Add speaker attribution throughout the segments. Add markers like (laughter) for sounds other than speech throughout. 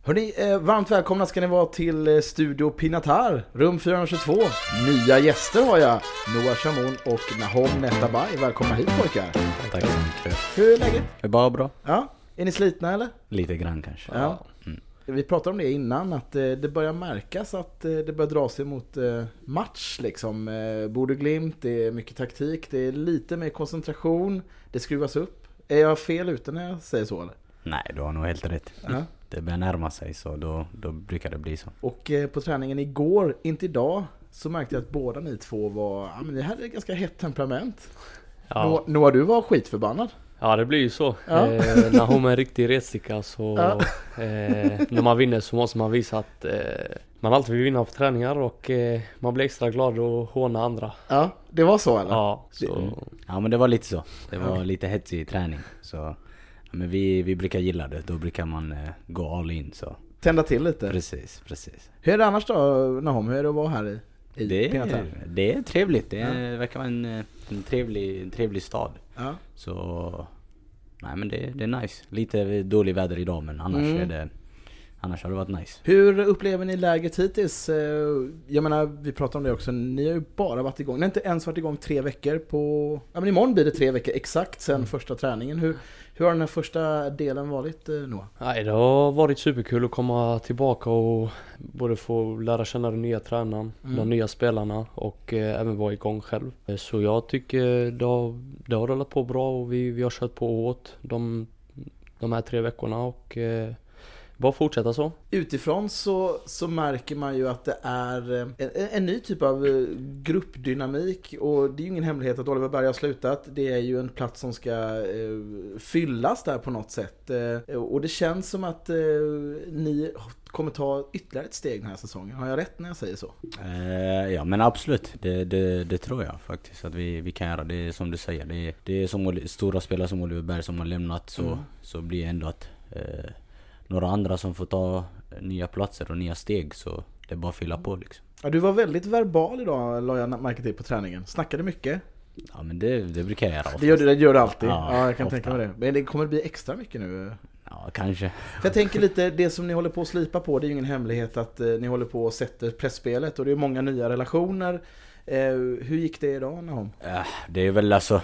Speaker 1: Hörni, eh, varmt välkomna ska ni vara till eh, Studio Pinatar, rum 422. Nya gäster har jag, Noah Shamoun och Nahom Netabay. Välkomna hit pojkar.
Speaker 2: Tack så mycket.
Speaker 1: Hur är läget?
Speaker 2: Det är bara bra.
Speaker 1: Ja, är ni slitna eller?
Speaker 2: Lite grann kanske. Mm.
Speaker 1: Ja. Vi pratade om det innan, att eh, det börjar märkas att eh, det börjar dra sig mot eh, match liksom. Eh, Borde Glimt, det är mycket taktik, det är lite mer koncentration, det skruvas upp. Är jag fel ute när jag säger så eller?
Speaker 2: Nej, du har nog helt rätt.
Speaker 1: Ja.
Speaker 2: Det börjar närma sig så då, då brukar det bli så.
Speaker 1: Och eh, på träningen igår, inte idag, så märkte jag att båda ni två var, ja men ni hade ganska hett temperament.
Speaker 3: Ja,
Speaker 1: Noah- Noah, du var skitförbannad.
Speaker 3: ja det blir ju så.
Speaker 1: Ja.
Speaker 3: Eh, när hon är en riktig retsticka så...
Speaker 1: Ja.
Speaker 3: Eh, när man vinner så måste man visa att eh, man alltid vill vinna på träningar och eh, man blir extra glad och håna andra.
Speaker 1: Ja, det var så eller?
Speaker 3: Ja,
Speaker 2: Mm.
Speaker 3: så...
Speaker 2: Ja men det var lite så. Det var lite hetsig träning. Så, ja, men vi, vi brukar gilla det. Då brukar man eh, gå all in så.
Speaker 1: Tända till lite.
Speaker 2: Precis, precis.
Speaker 1: Hur är det annars då Nahom? Hur är det att vara här i, i
Speaker 2: Det
Speaker 1: Pinatan?
Speaker 2: är, det är trevligt. Det är, verkar vara en, eh, en, trevlig, en trevlig stad.
Speaker 1: Ja.
Speaker 2: Så... Nej men det, det är nice. Lite dålig väder idag men annars
Speaker 1: Mm.
Speaker 2: är det... Annars har det varit nice.
Speaker 1: Hur upplever ni läget hittills? Eh, Jag menar, vi pratade om det också, ni har ju bara varit igång, ni har inte ens varit igång tre veckor på... Ja men imorgon blir det tre veckor exakt sen
Speaker 3: Mm.
Speaker 1: första träningen. Hur, hur har den här första delen varit eh, Noah?
Speaker 3: Nej, det har varit superkul att komma tillbaka och både få lära känna den nya tränaren,
Speaker 1: Mm.
Speaker 3: de nya spelarna och eh, även vara igång själv. Eh, Så jag tycker det har, det har rullat på bra och vi, vi har kört på hårt de, de här tre veckorna och eh, bara fortsätta så.
Speaker 1: Utifrån så, så märker man ju att det är eh, en, en ny typ av eh, gruppdynamik och det är ju ingen hemlighet att Oliver Berg har slutat. Det är ju en plats som ska eh, fyllas där på något sätt. Eh, och det känns som att eh, ni kommer ta ytterligare ett steg den här säsongen. Har jag rätt när jag säger så?
Speaker 2: Eh, ja men absolut, det, det, det tror jag faktiskt att vi, vi kan göra. Det är som du säger, det, är- det är som Oli- stora spelare som Oliver Berg som har lämnat så,
Speaker 1: Mm.
Speaker 2: så blir det ändå att eh, några andra som får ta nya platser och nya steg så det är bara att fylla på liksom.
Speaker 1: Ja, du var väldigt verbal idag la jag märke till på träningen. Snackade mycket.
Speaker 2: Ja men det, det brukar jag göra
Speaker 1: Det
Speaker 2: ofta.
Speaker 1: gör du, det gör du alltid. Ja,
Speaker 2: Ja,
Speaker 1: jag kan
Speaker 2: ofta.
Speaker 1: tänka mig det. Men det kommer bli extra mycket nu.
Speaker 2: Ja kanske.
Speaker 1: För jag tänker lite, det som ni håller på att slipa på, det är ju ingen hemlighet att eh, ni håller på och sätter pressspelet och det är många nya relationer. Eh, hur gick det idag Nahom?
Speaker 2: Eh, det är väl alltså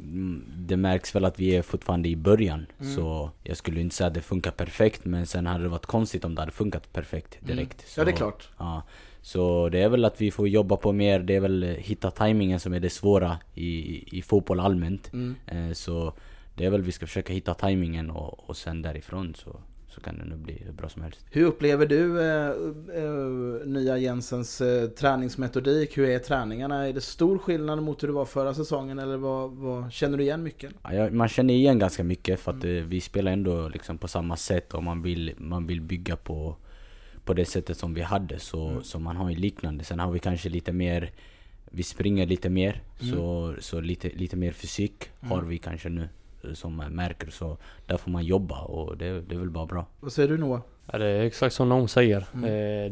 Speaker 2: mm, det märks väl att vi är fortfarande i början
Speaker 1: Mm.
Speaker 2: så jag skulle inte säga att det funkar perfekt men sen hade det varit konstigt om det hade funkat perfekt direkt.
Speaker 1: Mm.
Speaker 2: Så,
Speaker 1: Ja, det är klart.
Speaker 2: Ja, så det är väl att vi får jobba på mer, det är väl eh, hitta tajmingen som är det svåra i, i- i fotboll allmänt. Eh, Så det är väl vi ska försöka hitta tajmingen och, och sen därifrån så, så kan det nu bli hur bra som helst.
Speaker 1: Hur upplever du eh, eh, nya Jensens eh, träningsmetodik? Hur är träningarna? Är det stor skillnad mot hur det var förra säsongen eller vad, vad känner du igen mycket?
Speaker 2: Ja, jag- man känner igen ganska mycket för att eh, vi spelar ändå liksom på samma sätt och man vill, man vill bygga på, på det sättet som vi hade. Så, så man har ju liknande. Sen har vi kanske lite mer, vi springer lite mer. Så, så lite, lite mer fysik har vi kanske nu eh, som man märker. Så där får man jobba och det, det är väl bara bra.
Speaker 1: Vad säger du Noah?
Speaker 3: Ja, det är exakt som någon säger. Eh,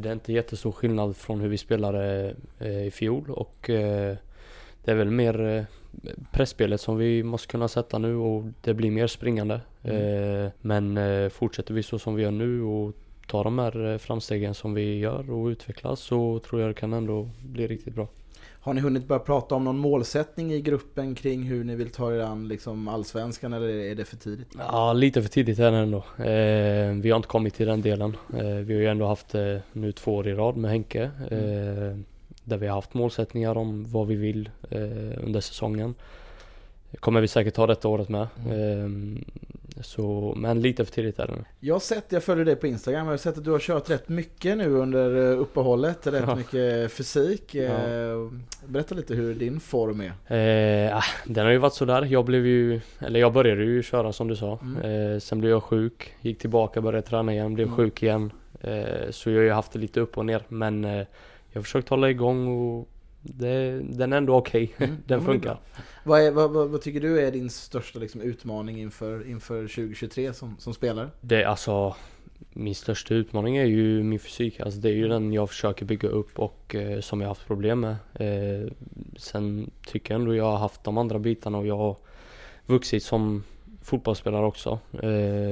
Speaker 3: det är inte jättestor skillnad från hur vi spelade eh, i fjol och eh, det är väl mer eh, pressspelet som vi måste kunna sätta nu och det blir mer springande. Eh, men eh, fortsätter vi så som vi gör nu och tar de här eh, framstegen som vi gör och utvecklas så tror jag det kan ändå bli riktigt bra.
Speaker 1: Har ni hunnit börja prata om någon målsättning i gruppen kring hur ni vill ta er an liksom, allsvenskan eller är det för tidigt?
Speaker 3: Ja, lite för tidigt är det ändå. Eh, vi har inte kommit till den delen. Eh, vi har ju ändå haft eh, nu två år i rad med Henke. Eh, där vi har haft målsättningar om vad vi vill eh, under säsongen. Kommer vi säkert ha detta året med. Eh, så, men lite för tidigt är det nu.
Speaker 1: Jag har sett, jag följer dig på Instagram, jag har sett att du har kört rätt mycket nu under eh, uppehållet, rätt
Speaker 3: Ja.
Speaker 1: mycket fysik.
Speaker 3: Ja.
Speaker 1: Eh, Berätta lite hur din form (laughs) är.
Speaker 3: Eh, ah, den har ju varit sådär. Jag blev ju, eller jag började ju köra som du sa.
Speaker 1: Mm.
Speaker 3: Eh, sen blev jag sjuk, gick tillbaka, började träna igen, blev sjuk igen. Eh, så jag har ju haft det lite upp och ner. Men eh, jag har försökt hålla igång och det, den är ändå okej.
Speaker 1: det är
Speaker 3: den funkar.
Speaker 1: Mm. Vad, är, vad, vad, vad tycker du är din största liksom, utmaning inför, inför 2023 som, som spelare?
Speaker 3: Det är alltså min största utmaning är ju min fysik. Alltså det är ju den jag försöker bygga upp och eh, som jag haft problem med. Eh, sen tycker jag ändå jag har haft de andra bitarna och jag har vuxit som fotbollsspelare också. Eh,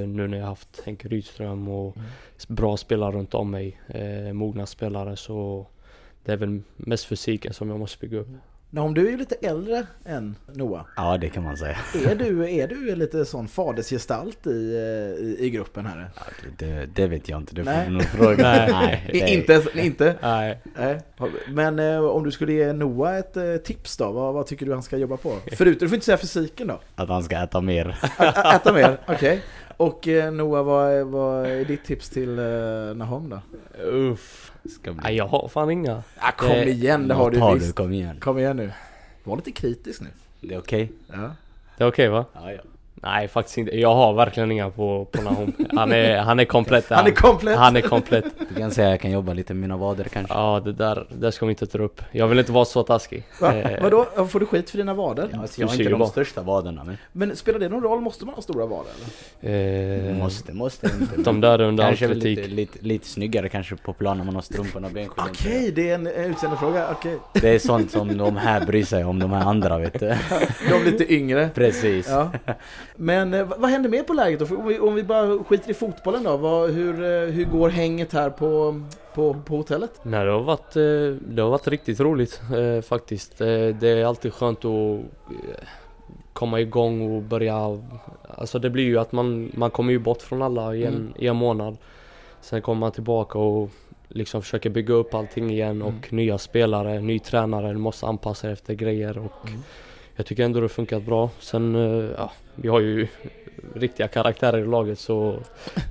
Speaker 3: nu när jag haft Henke Rydström och bra spelare runt om mig. Eh, mogna spelare så det är väl mest fysiken som jag måste bygga upp.
Speaker 1: Nej, om du är ju lite äldre än Noah.
Speaker 2: Ja, det kan man säga.
Speaker 1: Är du, är du lite sån fadersgestalt i, eh, i, i gruppen här?
Speaker 2: Ja, det- Det, det vet jag inte, det får
Speaker 1: Nej.
Speaker 2: vi nog fråga. Nej, det-
Speaker 1: Inte? inte.
Speaker 3: Nej,
Speaker 1: Nej. Men eh, om du skulle ge Noah ett eh, tips då? Vad, vad tycker du han ska jobba på? Förutom, du får inte säga fysiken då.
Speaker 2: Att han ska äta (laughs) mer.
Speaker 1: Ä- ä- äta mer, okej. Och eh, Noah, vad är, vad är ditt tips till eh, Nahom då?
Speaker 3: uff.
Speaker 2: Ska bli...
Speaker 3: Nej, jag har fan inga.
Speaker 1: Ah, kom
Speaker 3: Eh,
Speaker 1: igen, det har du
Speaker 2: tar
Speaker 1: visst.
Speaker 2: Kom igen.
Speaker 1: Kom igen nu. Var lite kritisk nu.
Speaker 2: Det är okej?
Speaker 1: Ja.
Speaker 3: Det är okej va?
Speaker 2: Ja, ja.
Speaker 3: Nej faktiskt inte. Jag har verkligen inga på, på Nahom. Han är, han är komplett.
Speaker 1: Han är komplett!
Speaker 3: Han är komplett.
Speaker 2: Du kan säga att jag kan jobba lite med mina vader kanske?
Speaker 3: Ja, det där, det ska vi inte ta upp. Jag vill inte vara så taskig.
Speaker 1: Va?
Speaker 3: Eh,
Speaker 1: Vadå? Får du skit för dina vader?
Speaker 2: Ja, alltså, jag
Speaker 3: Du
Speaker 2: har inte
Speaker 3: ser ju
Speaker 2: de
Speaker 3: bara-
Speaker 2: största vaderna men...
Speaker 1: Men spelar det någon roll? Måste man ha stora vader? Eller?
Speaker 3: Eh,
Speaker 2: Måste, måste inte. men-
Speaker 3: De där är under all
Speaker 2: Kanske väl
Speaker 3: kritik.
Speaker 2: lite, lite, lite snyggare kanske på plan när man har strumporna benskydda.
Speaker 1: Okej, det är en en utseendefråga. Okej.
Speaker 2: Det är sånt som de här bryr sig om, de här andra vet
Speaker 3: (laughs)
Speaker 2: du.
Speaker 1: De lite yngre.
Speaker 2: Precis.
Speaker 1: (laughs) Ja. Men eh, vad vad händer mer på läget då? För Om vi, om vi bara skiter i fotbollen då, vad, hur, eh, hur går hänget här på, på, på hotellet?
Speaker 3: Nej, det har varit, eh, det har varit riktigt roligt eh, faktiskt. Eh, Det är alltid skönt att eh, komma igång och börja. Alltså det blir ju att man, man kommer ju bort från alla i en,
Speaker 1: Mm.
Speaker 3: i en månad. Sen kommer man tillbaka och liksom försöker bygga upp allting igen
Speaker 1: Mm.
Speaker 3: och nya spelare, ny tränare, du måste anpassa dig efter grejer och
Speaker 1: Mm.
Speaker 3: jag tycker ändå det har funkat bra. Sen, eh, ja, vi har ju riktiga karaktärer i laget så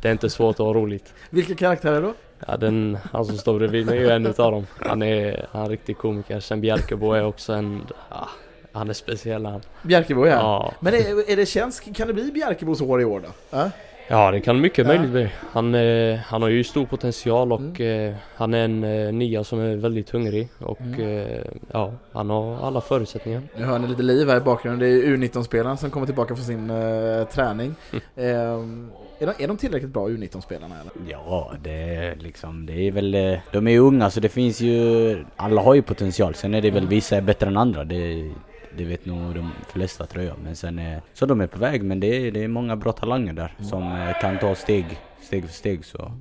Speaker 3: det är inte svårt att ha roligt.
Speaker 1: Vilka karaktärer då?
Speaker 3: Ja, den, han som står bredvid mig är ju en utav dem. Han är, han är en riktig komiker. Sen Bjärkebo är också en, ja, han är speciell han.
Speaker 1: Bjärkebo ja.
Speaker 3: Ja,
Speaker 1: Men är, är det känns, kan det bli Bjärkebos hår i år då? Ja.
Speaker 3: ja det kan mycket
Speaker 1: Ja.
Speaker 3: möjligt bli. Han, eh, han har ju stor potential och
Speaker 1: Mm.
Speaker 3: eh, han är en eh, nia som är väldigt hungrig och eh, ja, han har alla förutsättningar.
Speaker 1: Nu hör ni lite liv här i bakgrunden. Det är ju U19-spelaren som kommer tillbaka från sin eh, träning. Ehm, är, de, är de tillräckligt bra U19-spelarna eller?
Speaker 2: Ja, det är liksom, det är väl, eh, de är ju unga så det finns ju, alla har ju potential. Sen är det väl vissa är bättre än andra, det, det vet nog de flesta tror jag. Men sen, eh, så de är på väg men det är, det är många bra talanger där som eh, kan ta steg, steg för steg så.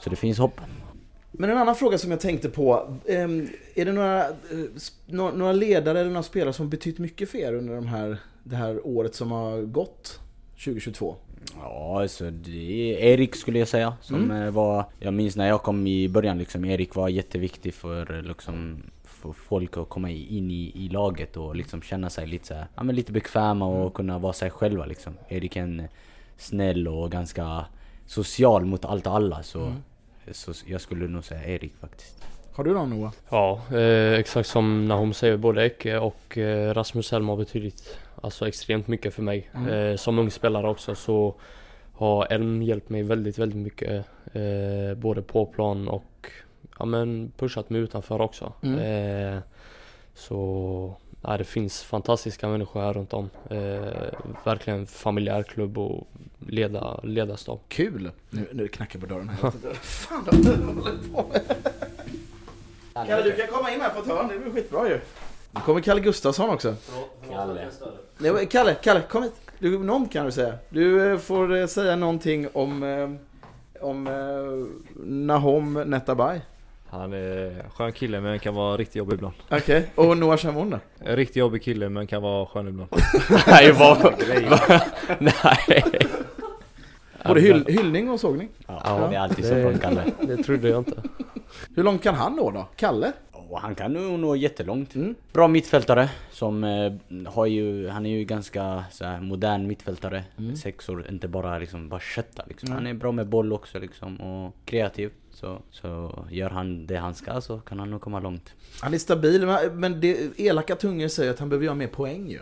Speaker 2: Så det finns hopp.
Speaker 1: Men en annan fråga som jag tänkte på. ehm, Är det några, eh, sp- nå- några ledare eller några spelare som betytt mycket för er under de här, det här året som har gått? 2022?
Speaker 2: Ja, alltså det är Erik skulle jag säga. Som eh, var, jag minns när jag kom i början liksom, Erik var jätteviktig för eh, liksom för folk att komma i- in i, i laget och liksom känna sig lite så här, ja, men lite bekväma och kunna vara sig själva liksom. Erik är en snäll och ganska social mot allt och alla så, så jag skulle nog säga Erik faktiskt.
Speaker 1: Har du någon Noah?
Speaker 3: Ja, eh, exakt som Nahom säger, både Ecke och eh, Rasmus Helm har betydit alltså, extremt mycket för mig. Eh, som ung spelare också så har Elm hjälpt mig väldigt, väldigt mycket. Eh, både på plan och ja, men pushat mig utanför också. Eh, så ja, det finns fantastiska människor här runt om. Eh, verkligen familjär klubb och leda, ledarstab.
Speaker 1: Kul! Nu, nu knackar jag på dörren här. Fan vad du håller på med. Kalle du kan komma in här på ett hörn, det blir skitbra ju. Nu kommer Kalle Gustafsson också.
Speaker 2: Kalle.
Speaker 1: Nej, men Kalle, Kalle kom hit. Du, någon kan du säga. Du eh, får eh, säga någonting om, eh, om eh, Nahom Netabay.
Speaker 4: Han är en skön kille men kan vara riktigt jobbig ibland.
Speaker 1: Okej, och Noah Shamoun då?
Speaker 4: En riktigt jobbig kille men kan vara
Speaker 1: (laughs)
Speaker 4: skön ibland.
Speaker 3: Nej, vad?
Speaker 4: (laughs)
Speaker 3: Nej.
Speaker 1: Både
Speaker 4: Alltså-
Speaker 1: hyll, hyllning och sågning.
Speaker 2: Ja, det är alltid så från Kalle.
Speaker 3: Det trodde jag inte.
Speaker 1: Hur långt kan han nå då? Kalle?
Speaker 2: Och han kan nog nå jättelångt.
Speaker 1: Mm.
Speaker 2: Bra mittfältare som eh, har ju, han är ju ganska så här, modern mittfältare.
Speaker 1: Mm.
Speaker 2: Sexor, inte bara liksom bara kötta liksom. Han är bra med boll också liksom och kreativ. Så, så gör han det han ska så kan han nog komma långt.
Speaker 1: Han är stabil, men- men det, elaka tungor säger att han behöver göra mer poäng ju.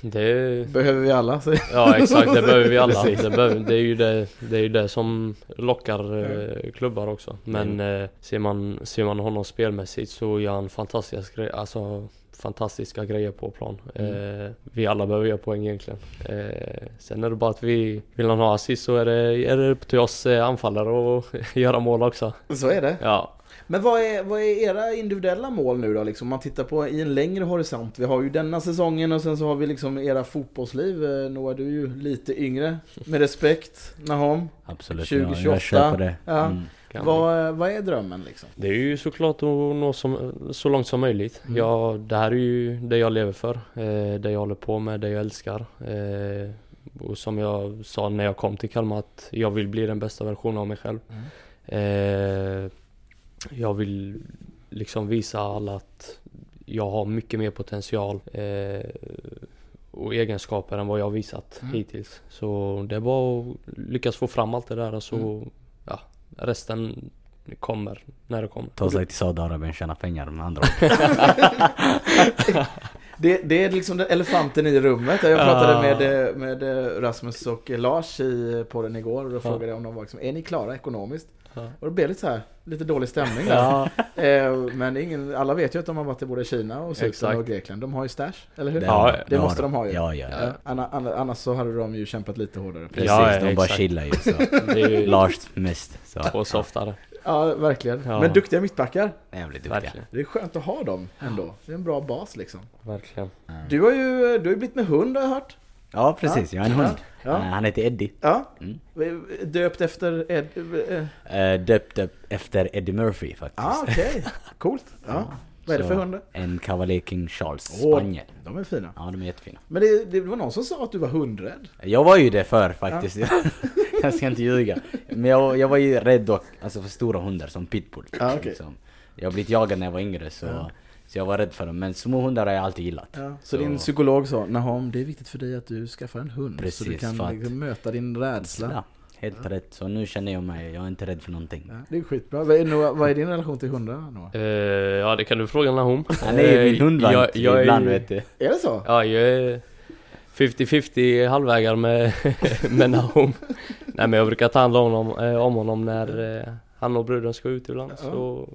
Speaker 3: Det,
Speaker 1: Behöver vi alla. säger-
Speaker 3: ja exakt, det behöver vi alla. Det, behöver, det, är ju det, det är ju det som lockar eh, klubbar också. Men eh, ser, man, ser man honom spelmässigt så gör han fantastiska grejer. Alltså fantastiska grejer på plan. Eh, vi alla behöver göra poäng egentligen. Eh, sen är det bara att vi, vill han ha assist så är det, är det upp till oss eh, anfallare att (laughs) göra mål också.
Speaker 1: Så är det.
Speaker 3: Ja,
Speaker 1: Men vad är, vad är era individuella mål nu då? Liksom, om man tittar på i en längre horisont. Vi har ju denna säsongen och sen så har vi liksom era fotbollsliv. Eh, Noah, du är ju lite yngre. Med respekt. Nahom.
Speaker 2: Absolut,
Speaker 1: 2028.
Speaker 2: jag, jag kör på det.
Speaker 1: Ja.
Speaker 2: Mm.
Speaker 3: kan
Speaker 1: Vad, vad är drömmen liksom?
Speaker 3: Alltså. Det är ju såklart att nå som, så långt som möjligt.
Speaker 1: Mm.
Speaker 3: Jag, det här är ju det jag lever för. Eh, det jag håller på med, det jag älskar. Eh, och som jag sa när jag kom till Kalmar att jag vill bli den bästa versionen av mig själv.
Speaker 1: Mm.
Speaker 3: Eh, jag vill liksom visa alla att jag har mycket mer potential eh, och egenskaper än vad jag har visat
Speaker 1: Mm.
Speaker 3: hittills. Så det är bara att lyckas få fram allt det där och så,
Speaker 1: Mm.
Speaker 3: ja, resten kommer när
Speaker 2: (laughs)
Speaker 3: det kommer.
Speaker 2: Ta sig till Saudiarabien och tjäna pengar med andra ord.
Speaker 1: (laughs) Det, det är liksom den elefanten i rummet. Jag
Speaker 3: Ah.
Speaker 1: pratade med, eh, med eh, Rasmus och Lars i podden igår
Speaker 3: Ah.
Speaker 1: och då frågade jag om de var liksom, är ni klara ekonomiskt?
Speaker 3: Ja.
Speaker 1: Och det blev lite så här, lite dålig stämning där. (laughs) Eh, Men det är ingen, alla vet ju att de har varit i både Kina och Cypern
Speaker 3: Exakt.
Speaker 1: och Grekland. De har ju stash, eller hur?
Speaker 2: Det
Speaker 3: Ja,
Speaker 2: har-
Speaker 3: det
Speaker 2: har
Speaker 1: måste de ha ju.
Speaker 2: Ja, ja.
Speaker 1: Ja. Anna- anna- Annars så hade de ju kämpat lite hårdare.
Speaker 2: Precis,
Speaker 3: Ja,
Speaker 2: de bara
Speaker 3: exakt.
Speaker 2: chillar ju. Så.
Speaker 3: Det är ju
Speaker 2: Lars mest. Så.
Speaker 3: två softare.
Speaker 1: Ja, verkligen.
Speaker 3: Ja.
Speaker 1: Men duktiga mittbackar.
Speaker 2: Jävligt duktiga.
Speaker 3: Verkligen.
Speaker 1: Det är skönt att ha dem ändå. Det är en bra bas liksom.
Speaker 3: Verkligen.
Speaker 1: Du har ju eh, du har ju blivit med hund har jag hört.
Speaker 2: Ja, precis. Jag är en
Speaker 1: Ja.
Speaker 2: hund.
Speaker 1: Ja.
Speaker 2: Eh, Han heter Eddie.
Speaker 1: Ja.
Speaker 2: Mm.
Speaker 1: Döpt efter Ed... eh,
Speaker 2: Eh, Döpt upp efter Eddie Murphy faktiskt.
Speaker 1: Ah, okej. (laughs) Coolt. Ja. Vad är det
Speaker 2: Så,
Speaker 1: för hundar?
Speaker 2: En Cavalier King Charles,
Speaker 1: Åh.
Speaker 2: spaniel.
Speaker 1: De är fina.
Speaker 2: Ja, de är jättefina.
Speaker 1: Men det, det var någon som sa att du var hundrädd.
Speaker 2: Jag var ju det förr faktiskt. (laughs) jag ska inte ljuga. Men jag, jag var ju rädd dock, alltså för stora hundar som pitbull. liksom.
Speaker 1: Ja, okej.
Speaker 2: Jag har blivit jagad när jag var yngre så, så jag var rädd för dem. Men små hundar har jag alltid gillat.
Speaker 1: Så, din psykolog sa Nahom, det är viktigt för dig att du skaffar en hund. så du
Speaker 2: Precis,
Speaker 1: kan
Speaker 2: för att-
Speaker 1: liksom möta din rädsla.
Speaker 2: Ja, helt rätt. Så nu känner jag mig, jag är inte rädd för någonting.
Speaker 1: Ja, Det är skitbra. Vad är, Noah, vad är din relation till hundar Noah?
Speaker 3: Eh, ja, det kan du fråga Nahom.
Speaker 2: Han är ju min hundvakt
Speaker 3: Eh, jag, jag är,
Speaker 2: ibland vet du.
Speaker 1: Är det så?
Speaker 3: Ja, jag är 50-50 halvägare med, (laughs) med Nahom. Nej men jag brukar ta hand om honom, eh, om honom när eh, han och bruden ska ut ibland.
Speaker 1: Ja.
Speaker 3: Så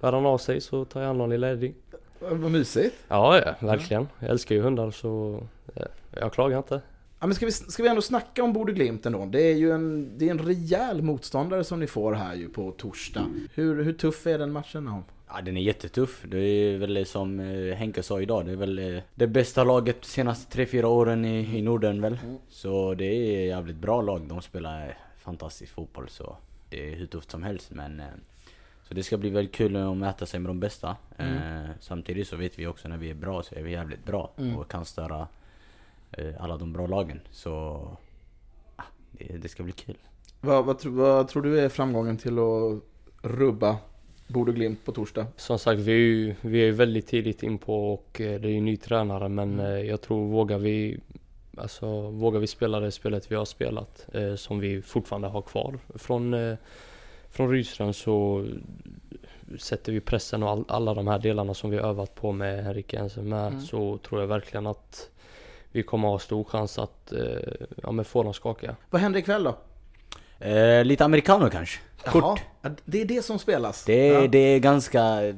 Speaker 3: hör han av sig så tar jag hand om lilla Eddie.
Speaker 1: Vad mysigt.
Speaker 3: Ja, ja, verkligen. Jag älskar ju hundar så eh, jag klagar inte.
Speaker 1: Ja, men ska, vi, ska vi ändå snacka om Borde Glimt ändå? Det är ju en, det är en rejäl motståndare som ni får här ju på torsdag. Hur, hur tuff är den matchen Nahom?
Speaker 2: Ja, den är jättetuff. Det är väl som eh, Henke sa idag, det är väl eh, det bästa laget de senaste 3-4 åren i, i Norden väl. Så det är jävligt bra lag. De spelar eh, fantastisk fotboll så det är hur tufft som helst men... eh, Så det ska bli väldigt kul att mäta sig med de bästa. Eh, Samtidigt så vet vi också när vi är bra så är vi jävligt bra och kan störa eh, alla de bra lagen. Så... ah, Det, det ska bli kul.
Speaker 1: Vad, vad, tro- vad tror du är framgången till att rubba Borde Glimt på torsdag?
Speaker 3: Som sagt, vi är ju, vi är ju väldigt tidigt in på och eh, det är ju ny tränare men eh, jag tror vågar vi Alltså vågar vi spela det spelet vi har spelat eh, som vi fortfarande har kvar från, eh, från Rydström så sätter vi pressen och all, alla de här delarna som vi har övat på med Henrik Jensen med
Speaker 1: Mm.
Speaker 3: så tror jag verkligen att vi kommer ha stor chans att eh, ja, men få dem skaka.
Speaker 1: Vad händer ikväll då?
Speaker 2: Eh, Lite americano kanske?
Speaker 1: Jaha, ja, det är det som spelas.
Speaker 2: Det är,
Speaker 1: ja.
Speaker 2: det är ganska... eh,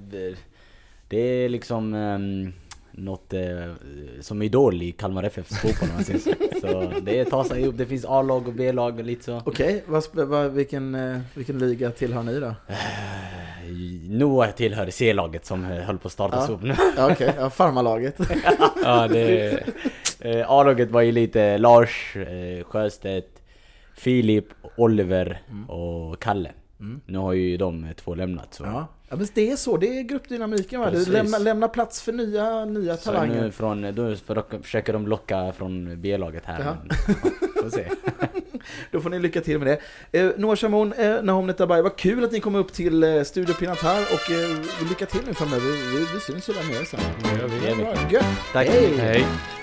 Speaker 2: Det är liksom um, något eh, som idol i Kalmar FFs fotboll om
Speaker 1: (laughs)
Speaker 2: man säger så. Så det är ta sig ihop, det finns A-lag och B-lag och lite så.
Speaker 1: Okej, vad sp- vad- vilken, eh, vilken liga tillhör ni då?
Speaker 2: Noah tillhör C-laget som eh, höll på att startas
Speaker 1: Ja.
Speaker 2: upp nu.
Speaker 1: (laughs) Ja, Okej, ja,
Speaker 2: (laughs)
Speaker 1: farmarlaget.
Speaker 3: Ja, det,
Speaker 2: Eh, A-laget var ju lite Lars, eh, Sjöstedt, Filip, Oliver
Speaker 1: Mm.
Speaker 2: och Kalle. Nu har ju de eh, två lämnat så.
Speaker 1: Ja. ja, men det är så. Det är gruppdynamiken. Va? Du
Speaker 2: Precis.
Speaker 1: lämnar, lämnar plats för nya, nya
Speaker 2: Så
Speaker 1: talanger.
Speaker 2: nu från, då för- försöker de locka från B-laget här.
Speaker 1: Ja.
Speaker 2: Men, (laughs) ja, får se.
Speaker 1: Då får ni lycka till med det. Eh, Noah Shamoun, eh, Nahom Netabay, vad kul att ni kom upp till eh, Studio Pinatar och eh, lycka till nu framöver. Vi, vi syns ju där nere sen.
Speaker 3: det gör vi.
Speaker 2: Det är mycket.
Speaker 1: Gött!
Speaker 2: Tack så
Speaker 1: Hej.
Speaker 2: mycket.
Speaker 3: Hej.